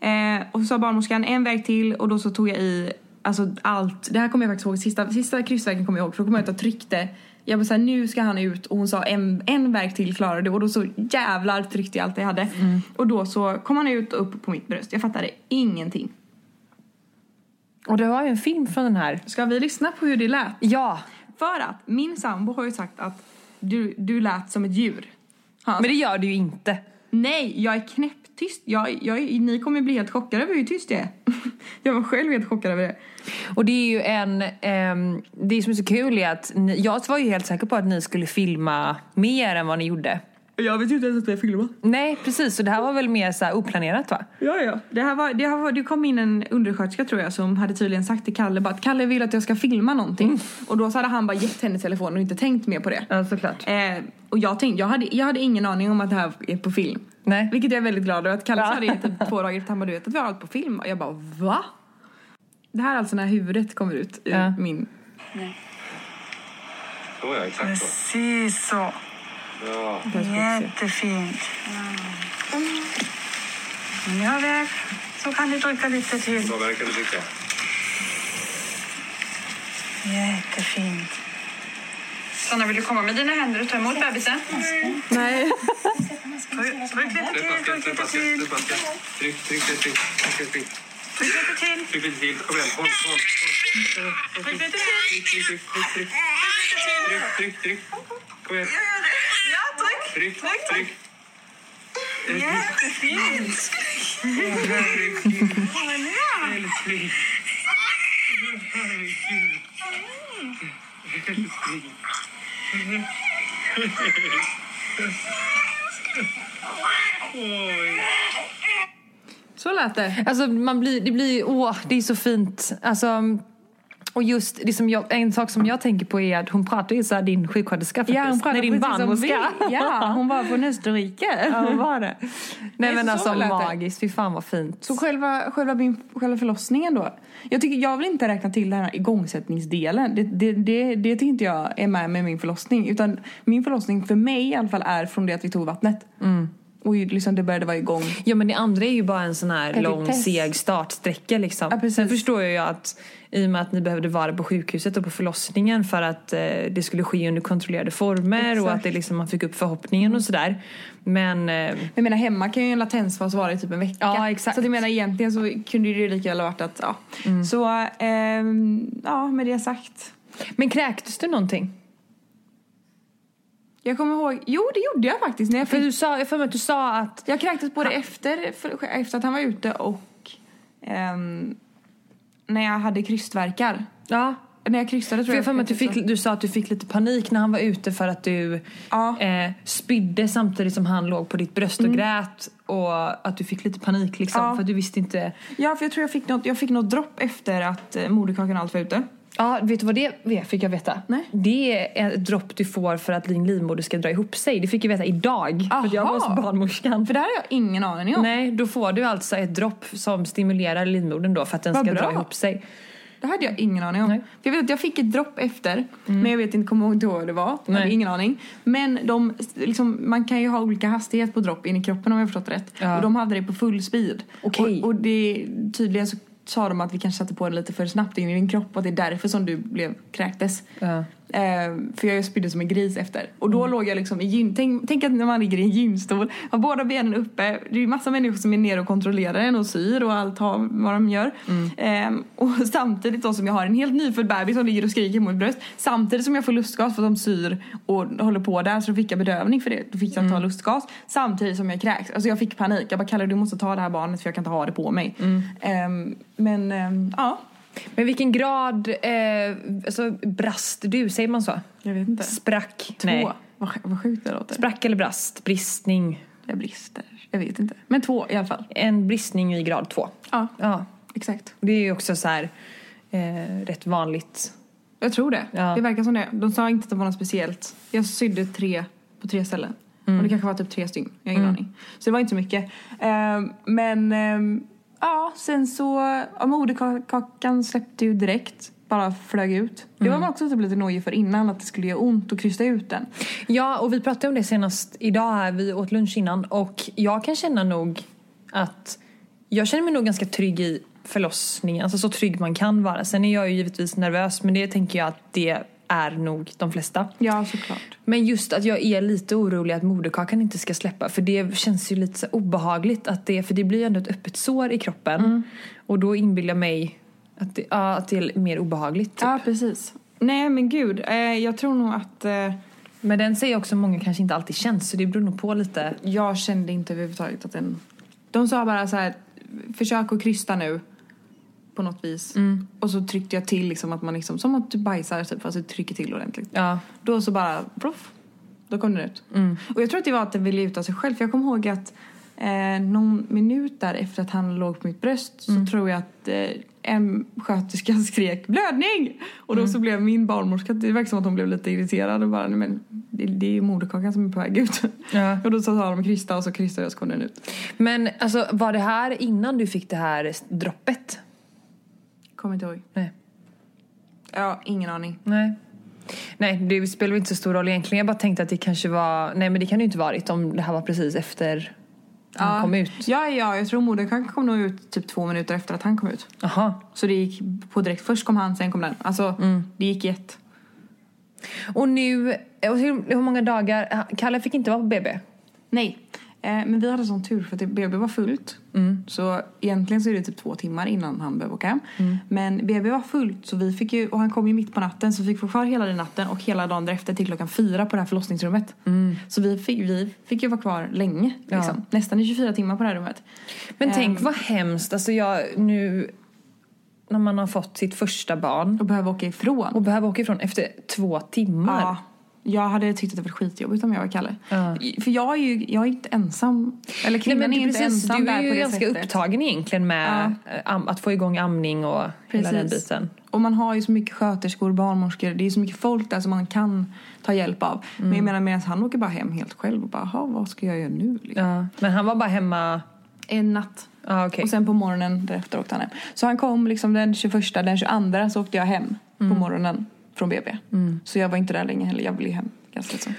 Eh, och så sa barnmorskan en väg till och då så tog jag i Alltså allt. Det här kommer jag faktiskt ihåg. Sista, sista kryssverken kommer jag ihåg. För då kommer jag att jag tryckte. Jag bara såhär, nu ska han ut. Och hon sa en, en verk till klarar du. Och då så jävlar tryckte jag allt jag hade. Och då så kom han ut och upp på mitt bröst. Jag fattade ingenting.
Och det var ju en film från den här.
Ska vi lyssna på hur det lät?
Ja!
För att min sambo har ju sagt att du, du lät som ett djur. Han,
Men det gör du ju inte.
Nej, jag är knäpptyst. Jag, jag, är- ni kommer bli helt chockade över hur tyst jag är. jag var själv helt chockad över det.
Och det är ju en... ehm, det som är så kul är att ni, jag var ju helt säker på att ni skulle filma mer än vad ni gjorde.
Och Jag vet ju inte ens att vi har filmat.
Nej, precis. Så det här var väl mer så här oplanerat va?
Ja, ja. Det, här var, det, här var, det kom in en undersköterska tror jag som hade tydligen sagt till Kalle bara att Kalle vill att jag ska filma någonting. Och då så hade han bara gett henne telefonen och inte tänkt mer på det.
Mm. Ja, såklart.
Eh, och jag, tänkte, jag, hade, jag hade ingen aning om att det här är på film.
Nej.
Vilket jag är väldigt glad över. Att Kalle
Ja.
sa det i typ två dagar efter. Han bara, du vet att vi har allt på film. Och jag bara, va? Det här är alltså när huvudet kommer ut ur
Ja.
min...
Så ja, exakt så.
Precis så.
Ja.
Jättefint. Mm. Nu har vi här. Så kan du trycka lite till.
Vad verkar du tycka?
Jättefint.
Sanna, vill du komma med dina händer och ta emot bebisen? Nej.
Tryck, tryck lite till,
Släpp
tryck lite
basket,
till.
släpp basket. Tryck, tryck, tryck, tryck, tryck, tryck.
Tryck lite till.
Tryck lite till. Kom igen. Håll, håll, håll.
Tryck lite till.
Tryck, tryck, tryck, tryck, tryck. Tryck, tryck, tryck. Kom igen.
Ja, tryck.
Tryck, tryck.
er Jättefint.
Tryck, tryck.
Ja.
Älskling. Herregud. Älskling. Oj.
Så lät det.
Alltså man blir, det blir, åh, det är så fint. Alltså, och just det som jag, en sak som jag tänker på är att hon pratar ju såhär din sjuksköterska faktiskt. Nej, din barnmorska.
Ja, hon var från Österrike.
Ja, hon var det. Nej men
så
alltså
lät det.
magiskt, fy fan vad fint.
Så själva, själva, min, själva förlossningen då. Jag, tycker, jag vill inte räkna till den här igångsättningsdelen. Det, det, det, det tycker inte jag är med med min förlossning. Utan min förlossning för mig i alla fall är från det att vi tog vattnet.
Mm.
Och ju- liksom det började vara igång.
Ja men det andra är ju bara en sån här
Petitess.
lång seg startsträcka liksom.
Ja, precis.
Sen förstår jag ju att i och med att ni behövde vara på sjukhuset och på förlossningen för att eh, det skulle ske under kontrollerade former och
Exakt.
att det liksom, man fick upp förhoppningen och sådär. Men eh,
Men jag menar hemma kan ju en latensfas vara i typ en vecka.
Ja, exakt. Mm.
Så att jag menar egentligen så kunde det ju lika gärna varit att ja. Så ehm, ja, med det sagt.
Men kräktes du någonting?
Jag kommer ihåg, jo det gjorde jag faktiskt. När jag
För du sa, jag för mig att du sa att
Jag kräktes både efter, för, efter att han var ute och ehm, när jag hade krystvärkar.
Ja.
När jag krystade tror
För
jag.
jag har för mig att du, fick, du sa att du fick lite panik när han var ute för att du
Ja.
eh, spydde samtidigt som han låg på ditt bröst och grät. Och att du fick lite panik liksom
Ja.
för att du visste inte.
Ja, för jag tror jag fick något, jag fick något dropp efter att eh, moderkakan och allt var ute.
Ja, vet du vad det är? fick jag veta?
Nej.
Det är ett dropp du får för att din livmoder ska dra ihop sig. Det fick jag veta idag. För att jag var
Aha.
hos barnmorskan.
För det här har jag ingen aning om.
Nej, då får du alltså ett dropp som stimulerar livmodern då för att den
Vad
ska
bra.
dra ihop sig.
Det hade jag ingen aning om.
Mm. Nej. Mm.
För jag vet att jag fick ett dropp efter, men jag vet inte, kommer ihåg då det var. Jag hade
Nej.
ingen aning. Men de, liksom, man kan ju ha olika hastighet på dropp in i kroppen om jag förstått rätt.
Ja.
Och de hade det på full speed.
Okej.
Och, och det, tydligen så sa de att vi kanske satte på den lite för snabbt in i din kropp och att det är därför som du blev, kräktes.
Ja.
Eh, för jag spydde som en gris efter. Och då låg jag liksom i gym. Tänk, tänk att när man ligger i en gymstol, har båda benen uppe. Det är ju massa människor som är nere och kontrollerar en och syr och allt har, vad de gör. Eh, och samtidigt då som jag har en helt nyfödd bebis som ligger och skriker mot mitt bröst. Samtidigt som jag får lustgas för att de syr och håller på där. Så då fick jag bedövning för det. Då fick jag ta lustgas. Samtidigt som jag kräks. Alltså jag fick panik. Jag bara, Kalle du måste ta det här barnet för jag kan inte ha det på mig. Eh, men ehm, ja,
Men vilken grad eh, alltså, brast du? Säger man så?
jag vet inte.
Sprack?
Två. Vad, sj- vad sjukt det låter.
Sprack eller brast? Bristning?
Jag brister. Jag vet inte. Men två i alla fall.
En bristning i grad två.
Ja,
Ja.
exakt.
Och Det är ju också så här eh, rätt vanligt.
Jag tror det.
Ja.
Det verkar som det. De sa inte att det var något speciellt. Jag sydde tre på tre ställen. Och det kanske var typ tre stygn. Jag har ingen aning. Så det var inte så mycket. Ehm, men ehm, ja, sen så... Ja, moderkakan släppte ju direkt. Bara flög ut. Det var man också typ lite nojig för innan. Att det skulle göra ont att krysta ut den.
Ja, och vi pratade om det senast idag här. Vi åt lunch innan och jag kan känna nog att jag känner mig nog ganska trygg i förlossningen. Alltså så trygg man kan vara. Sen är jag ju givetvis nervös men det tänker jag att det är nog de flesta.
Ja, såklart.
Men just att jag är lite orolig att moderkakan inte ska släppa för det känns ju lite så obehagligt att det, för det blir ju ändå ett öppet sår i kroppen och då inbillar jag mig att det, ja, att det är mer obehagligt. typ.
Ja, precis. Nej, men gud. Eh, jag tror nog att... Eh,
Men den säger också många kanske inte alltid känns så det beror nog på lite.
Jag kände inte överhuvudtaget att den... De sa bara så här, försök att krysta nu. På något vis. Och så tryckte jag till liksom att man liksom, som att du bajsar typ, fast du trycker till ordentligt.
Ja.
Då så bara, proff. Då kom den ut.
Mm.
Och jag tror att det var att den ville ut av sig själv. För jag kommer ihåg att eh, någon minut där efter att han låg på mitt bröst
Mm.
så tror jag att eh, en sköterska skrek blödning! Och då
Mm.
så blev min barnmorska, det verkar som att hon blev lite irriterad och bara, nej men det, det är ju moderkakan som är på väg ut.
Ja.
och då så sa de krysta och så krystade jag och så kom den ut.
Men alltså var det här innan du fick det här droppet?
Kommer inte ihåg.
Nej.
Ja, ingen aning.
Nej. Nej, det spelar väl inte så stor roll egentligen. Jag bara tänkte att det kanske var... Nej, men det kan det ju inte varit om det här var precis efter han kom ut.
Ja, ja, jag tror moderkakan kom nog ut typ två minuter efter att han kom ut.
Aha.
Så det gick på direkt. Först kom han, sen kom den. Alltså, det gick jätte...
Och nu... Och hur, hur många dagar... Kalle fick inte vara på BB.
Nej. Eh, men vi hade sån tur för att det- BB var fullt. Så egentligen så är det typ två timmar innan han behöver åka hem. Men BB var fullt så vi fick ju, och han kom ju mitt på natten så vi fick vara kvar hela den natten och hela dagen därefter till klockan fyra på det här förlossningsrummet. Så vi fick, vi fick ju vara kvar länge. Liksom. Nästan i 24 timmar på det här rummet.
Men tänk vad hemskt. Alltså jag nu... När man har fått sitt första barn
Och behöva åka ifrån.
och behöver åka ifrån efter två timmar.
Ja. Jag hade tyckt att det var skitjobbigt om jag var Kalle.
Ja.
I- För jag är ju jag är inte ensam. Eller
Nej,
kvinnan
men
är ju
precis,
inte ensam
du är
där på
ju
det
ganska
sättet.
upptagen egentligen med eh, am- att få igång amning och hela den
Precis.
biten.
Och man har ju så mycket sköterskor, barnmorskor, det är så mycket folk där som man kan ta hjälp av. Men
Mm.
jag menar medan han åker bara hem helt själv och bara, "Jaha, vad ska jag göra nu? Liksom.
Ja. Men han var bara hemma...
En natt.
Ja, okej.
Och sen på morgonen därefter åkte han hem. Så han kom liksom den 21, den 22 så åkte jag hem
Mm.
på morgonen från BB. Så jag var inte där länge heller, jag ville ju hem ganska så.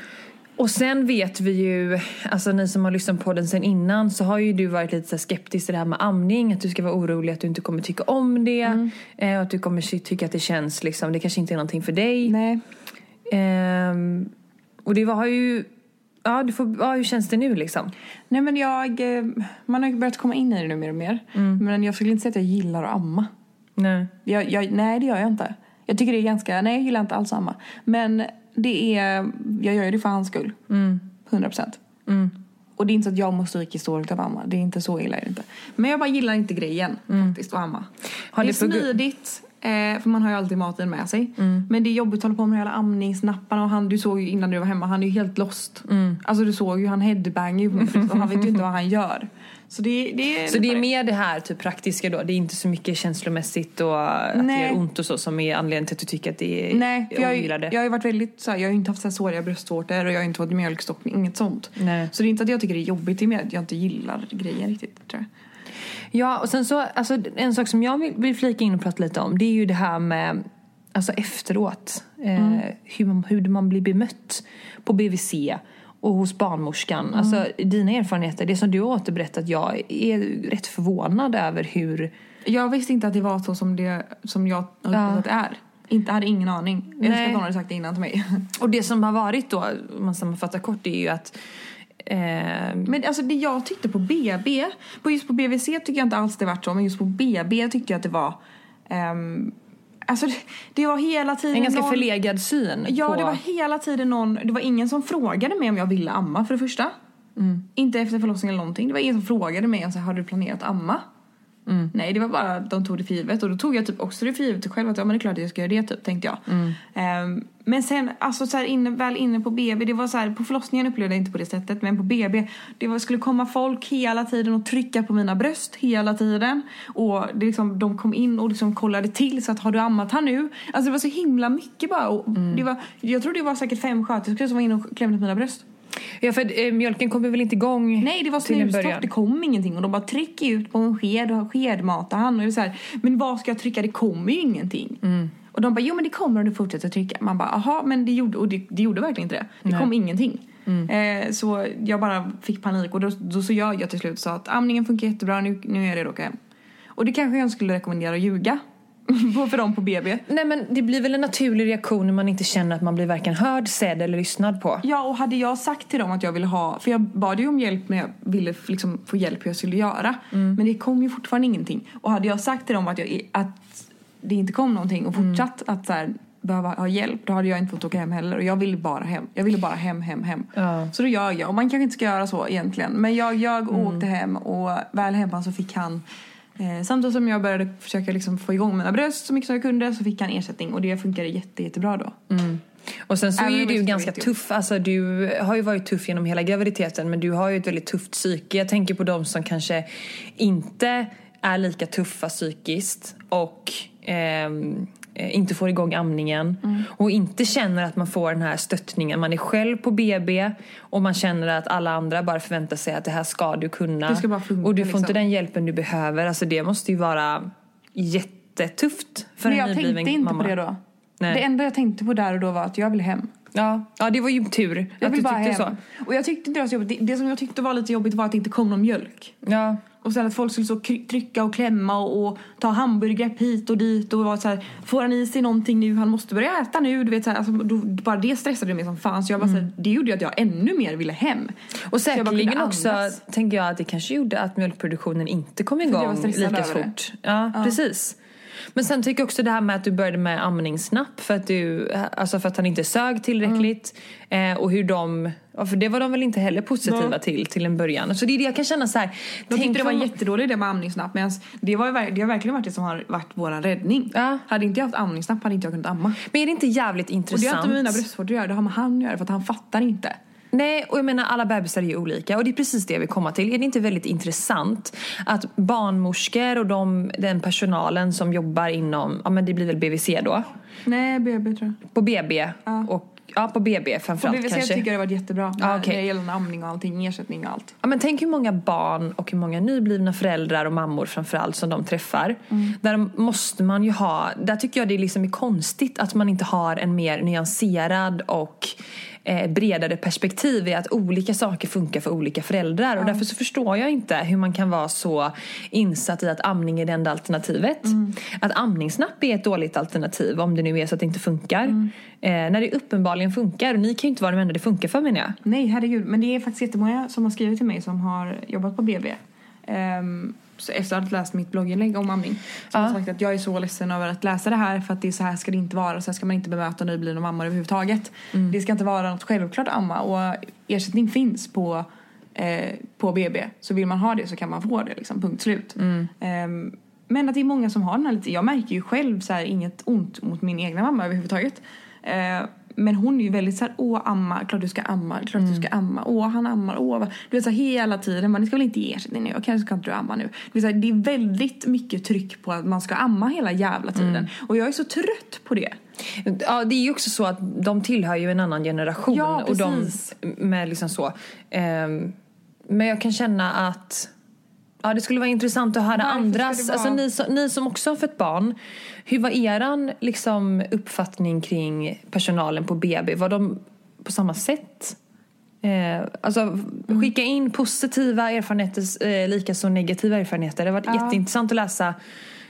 Och sen vet vi ju, alltså ni som har lyssnat på den sen innan så har ju du varit lite så här skeptisk till det här med amning, att du ska vara orolig att du inte kommer tycka om det
Mm.
eh, och att du kommer ty- tycka att det känns liksom, det kanske inte är någonting för dig.
Nej,
Ehm, och det var, har ju, ja du får, ja hur känns det nu liksom?
Nej men jag, eh, man har ju börjat komma in i det nu mer och mer. Men jag skulle inte säga att jag gillar att amma.
Nej.
Jag, jag, nej, det gör jag inte. Jag tycker det är ganska... Nej, jag gillar inte alls amma. Men det är... Jag gör ju det för hans skull. Mm. 100 procent. Och det är inte så att jag mår psykiskt dåligt av amma. Det är inte så illa är det inte. Men jag bara gillar inte grejen faktiskt, att amma.
Har
det är
det för-
smidigt. Eh, för man har ju alltid maten med sig. Men det är jobbigt att hålla på med alla amningsnapparna. Och han, du såg ju innan du var hemma, han är ju helt lost. Alltså du såg ju, han headbangar ju på min fru, och han vet ju inte vad han gör. Så det, det är...
Så det är mer det här typ praktiska då, det är inte så mycket känslomässigt och att det
Nej.
gör ont och så som är anledningen till att du tycker att det är
Nej, för jag, har ju-
ogillar det.
jag har ju varit väldigt så här, jag har ju inte haft så här såriga bröstvårtor och jag har inte fått mjölkstockning, inget sånt.
Nej.
Så det är inte att jag tycker det är jobbigt, det är mer att jag inte gillar grejen riktigt tror jag.
Ja, och sen så, alltså, en sak som jag vill, vill flika in och prata lite om det är ju det här med alltså efteråt. Eh, hur, man- hur man blir bemött på BVC och hos barnmorskan. Alltså dina erfarenheter, det som du har återberättat, jag är rätt förvånad över hur
Jag visste inte att det var så som, det, som jag har upplevt
Ja.
att det är. Inte hade ingen aning. Jag önskar
Nej.
att någon hade sagt det innan till mig.
Och det som har varit då, om man sammanfattar kort, det är ju att eh,
Men alltså det jag tyckte på BB, på just på BVC tycker jag inte alls det vart så, men just på BB tyckte jag att det var... ehm, alltså det, det var hela tiden
en ganska
någon-
förlegad syn
Ja,
på...
det var hela tiden någon... Det var ingen som frågade mig om jag ville amma för det första. Inte efter förlossningen eller någonting. Det var ingen som frågade mig om så här, har du planerat amma? Nej, det var bara att de tog det för givet. Och då tog jag typ också det för givet själv att ja, men det är klart att jag ska göra det typ, tänkte jag. Ehm, men sen, alltså så här, inne, väl inne på BB, det var så här, på förlossningen upplevde jag inte på det sättet, men på BB, det var, skulle komma folk hela tiden och trycka på mina bröst hela tiden. Och det liksom, de kom in och liksom kollade till så att har du ammat han nu? Alltså det var så himla mycket bara. Och det var, jag tror det var säkert fem sköterskor som var inne och klämde på mina bröst.
Ja, för eh, mjölken kommer väl inte igång
Nej, det var
till en
snustorrt.
början?
Det kom ingenting. Och de bara tryck ut på en sked och skedmata han. Och jag var så här, men vad ska jag trycka? Det kommer ju ingenting.
Mm.
Och de bara, jo men det kommer om du fortsätter trycka. Man bara, aha, men det gjorde, och det, det gjorde verkligen inte det. Det kom ingenting.
Mm.
Eh, så jag bara fick panik. Och då, då så jag, jag till slut och sa att amningen funkar jättebra, nu, nu är jag redo att åka hem. Och det kanske jag skulle rekommendera att ljuga. på- för dem på BB.
Nej men det blir väl en naturlig reaktion när man inte känner att man blir varken hörd, sedd eller lyssnad på.
Ja, och hade jag sagt till dem att jag ville ha... För jag bad ju om hjälp när jag ville f- liksom få hjälp hur jag skulle göra. Men det kom ju fortfarande ingenting. Och hade jag sagt till dem att, jag, i- att det inte kom någonting och fortsatt att så här, behöva ha hjälp, då hade jag inte fått åka hem heller. Och jag ville bara hem. Jag ville bara hem, hem, hem.
Ja.
Så då gör jag. Och man kanske inte ska göra så egentligen. Men jag, jag åkte hem och väl hemma så fick han Eh, samtidigt som jag började försöka liksom få igång mina bröst så mycket som jag kunde så fick han ersättning och det funkade jätte, jättebra då.
Och sen så är
Även
ju
om det typ-
du
är
ganska
jobbigt.
tuff, alltså du har ju varit tuff genom hela graviditeten men du har ju ett väldigt tufft psyke. Jag tänker på de som kanske inte är lika tuffa psykiskt och ehm, eh, inte får igång amningen
Mm.
och inte känner att man får den här stöttningen. Man är själv på BB och man känner att alla andra bara förväntar sig att det här ska du kunna.
Det ska bara funka,
och du får inte
liksom.
den hjälpen du behöver. Alltså det måste ju vara jättetufft för en
Men jag
nybliven
tänkte inte
mamma.
på det då.
Nej.
Det enda jag tänkte på där och då var att jag vill hem.
Ja, ja det var ju tur
Jag
att
vill
du
bara
tyckte
hem.
så.
Och jag tyckte inte det var så jobbigt. Det, det som jag tyckte var lite jobbigt var att det inte kom någon mjölk.
Ja.
Och sen att folk skulle så kry- trycka och klämma och, och ta hamburgergrepp hit och dit och vara så här, får han i sig någonting nu? Han måste börja äta nu. Du vet så här, alltså, då, bara det stressade mig som fan. Så jag bara så här, det gjorde ju att jag ännu mer ville hem.
Mm. Och
Så jag bara
säkerligen
kunde
också
andas.
tänker jag att det kanske gjorde att mjölkproduktionen inte kom
jag var
igång
stressad
lika
över det.
fort. Ja, precis. Men sen tycker jag också det här med att du började med amningsnapp för att, du, alltså för att han inte sög tillräckligt. Eh, och hur de, ja, för det var de väl inte heller positiva till till en början. Så det är det jag kan känna så här.
De
tänk
tyckte det var
om-
en jättedålig idé med amningsnapp medan det, var, ju verk- det har verkligen varit det som har varit vår räddning.
Ja.
Hade inte jag haft amningsnapp hade inte jag kunnat amma.
Men är det inte jävligt
Och det har
intressant?
inte med mina bröstvårtor att göra, det har med han att göra för att han fattar inte.
Nej, och jag menar alla bebisar är ju olika och det är precis det jag vill komma till. Är det inte väldigt intressant att barnmorskor och de, den personalen som jobbar inom, ja men det blir väl BVC då,
Nej, BB tror jag.
på BB och ja på BB
På
framförallt
BVC
kanske.
tycker jag det var jättebra.
Ja,
med-
okej.
Det gällande amning och allting, ersättning och allt.
Ja, men tänk hur många barn och hur många nyblivna föräldrar och mammor framförallt som de träffar. Där måste man ju ha, där tycker jag det liksom är konstigt att man inte har en mer nyanserad och eh, bredare perspektiv i att olika saker funkar för olika föräldrar. Och därför så förstår jag inte hur man kan vara så insatt i att amning är det enda alternativet. Att amningsnapp är ett dåligt alternativ om det nu är så att det inte funkar. Eh, när det uppenbarligen funkar. Och ni kan ju inte vara de enda det funkar för menar jag.
Nej, herregud. Men det är faktiskt jättemånga som har skrivit till mig som har jobbat på BB. Ehm, så efter att ha läst mitt blogginlägg om amning. Som har sagt att jag är så ledsen över att läsa det här för att det är så här ska det inte vara. Så här ska man inte bemöta nyblivna mammor överhuvudtaget. Det ska inte vara något självklart att amma. Och ersättning finns på, eh, på BB. Så vill man ha det så kan man få det. Liksom, punkt slut. Ehm, men att det är många som har den här lite, jag märker ju själv så här, inget ont mot min egna mamma överhuvudtaget. Eh, men hon är ju väldigt så här, åh amma, klart du ska amma, klart du ska amma, åh han ammar, åh. vad-" Du vet så här, hela tiden, man ska väl inte ge ersättning nu, kanske ska inte du amma nu. Du vet, så här, det är väldigt mycket tryck på att man ska amma hela jävla tiden. Och jag är så trött på det.
Ja, det är ju också så att de tillhör ju en annan generation.
Ja,
och de
precis.
med liksom så. Ehm, men jag kan känna att Ja, det skulle vara intressant att höra
Varför skulle
andras,
det
alltså
vara-
ni som, ni som också har fött barn. Hur var eran liksom, uppfattning kring personalen på BB? Var de på samma sätt? Eh, alltså
Mm.
skicka in positiva erfarenheter eh, lika som negativa erfarenheter. Det har varit jätteintressant att läsa.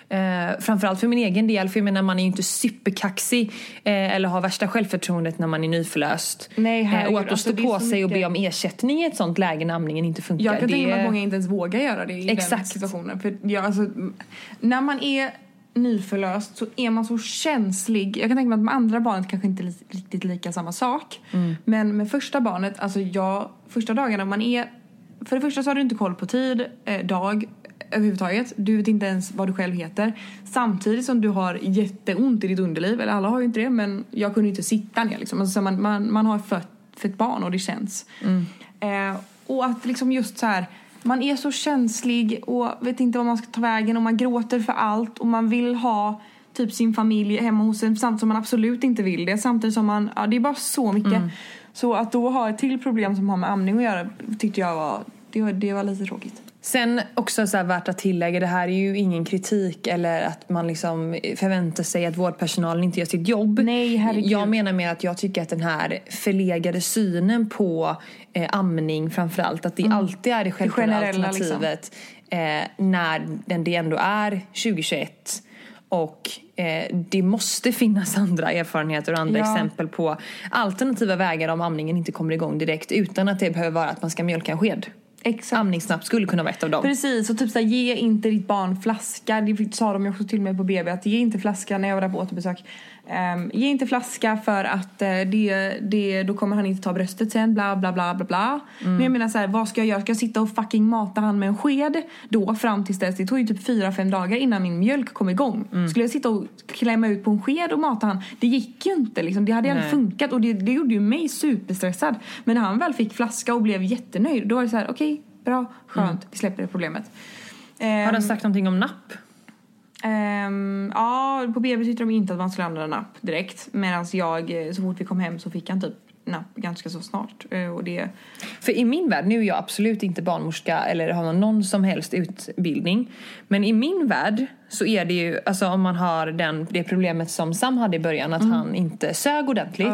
Eh, framförallt för min egen del, för jag menar man är ju inte superkaxig eh, eller har värsta självförtroendet när man är nyförlöst.
Nej,
eh, och
herregud,
att då
alltså,
stå
det är
på
så
sig och be
mycket-
om ersättning i ett sånt läge när amningen inte funkar.
Jag kan tänka mig
det-
att många inte ens vågar göra det i den
Exakt.
situationen. För jag, alltså, m- när man är nyförlöst så är man så känslig. Jag kan tänka mig att med andra barnet kanske inte li- riktigt lika samma sak.
Mm.
Men med första barnet, alltså jag, första dagarna man är... För det första så har du inte koll på tid, eh, dag överhuvudtaget. Du vet inte ens vad du själv heter. Samtidigt som du har jätteont i ditt underliv. Eller alla har ju inte det men jag kunde ju inte sitta ner liksom. Alltså, så man, man, man har fött, fött barn och det känns. Eh, och att liksom just så här, man är så känslig och vet inte vad man ska ta vägen och man gråter för allt och man vill ha typ sin familj hemma hos en samtidigt som man absolut inte vill det. Samtidigt som man, ja det är bara så mycket. Så att då ha ett till problem som har med amning att göra tyckte jag var, det var, det var lite tråkigt.
Sen också så här värt att tillägga, det här är ju ingen kritik eller att man liksom förväntar sig att vårdpersonalen inte gör sitt jobb.
Nej, herregud.
Jag menar med att jag tycker att den här förlegade synen på eh, amning framförallt, att det alltid är det självklara
Mm. generella, liksom.
alternativet eh, när den, det ändå är 2021 och eh, det måste finnas andra erfarenheter och andra
Ja.
exempel på alternativa vägar om amningen inte kommer igång direkt utan att det behöver vara att man ska mjölka en sked.
Exakt.
Amning snabbt skulle kunna vara ett av dem.
Precis, och typ såhär, ge inte ditt barn flaska. Det sa de ju också till mig på BB att ge inte flaska när jag var där på återbesök. Ehm, ge inte flaska för att eh, det, det, då kommer han inte ta bröstet sen, bla bla bla bla bla.
Mm.
Men jag menar såhär, vad ska jag göra? Ska jag sitta och fucking mata han med en sked då fram tills dess? Det tog ju typ fyra fem dagar innan min mjölk kom igång.
Mm.
Skulle jag sitta och klämma ut på en sked och mata han? Det gick ju inte liksom. Det hade ju aldrig
Nej.
funkat funkat och det, det gjorde ju mig superstressad. Men när han väl fick flaska och blev jättenöjd då var det så här: okej, bra, skönt, vi släpper det problemet.
Mm. Har de
Ehm,
sagt någonting om napp?
ehm, ja, på BB tyckte de inte att man skulle använda napp direkt. Medan jag, eh, så fort vi kom hem så fick han typ napp ganska så snart. Eh, och det,
För i min värld, nu är jag absolut inte barnmorska eller har någon som helst utbildning. Men i min värld så är det ju, alltså om man har den, det problemet som Sam hade i början,
Mm.
att han inte sög ordentligt.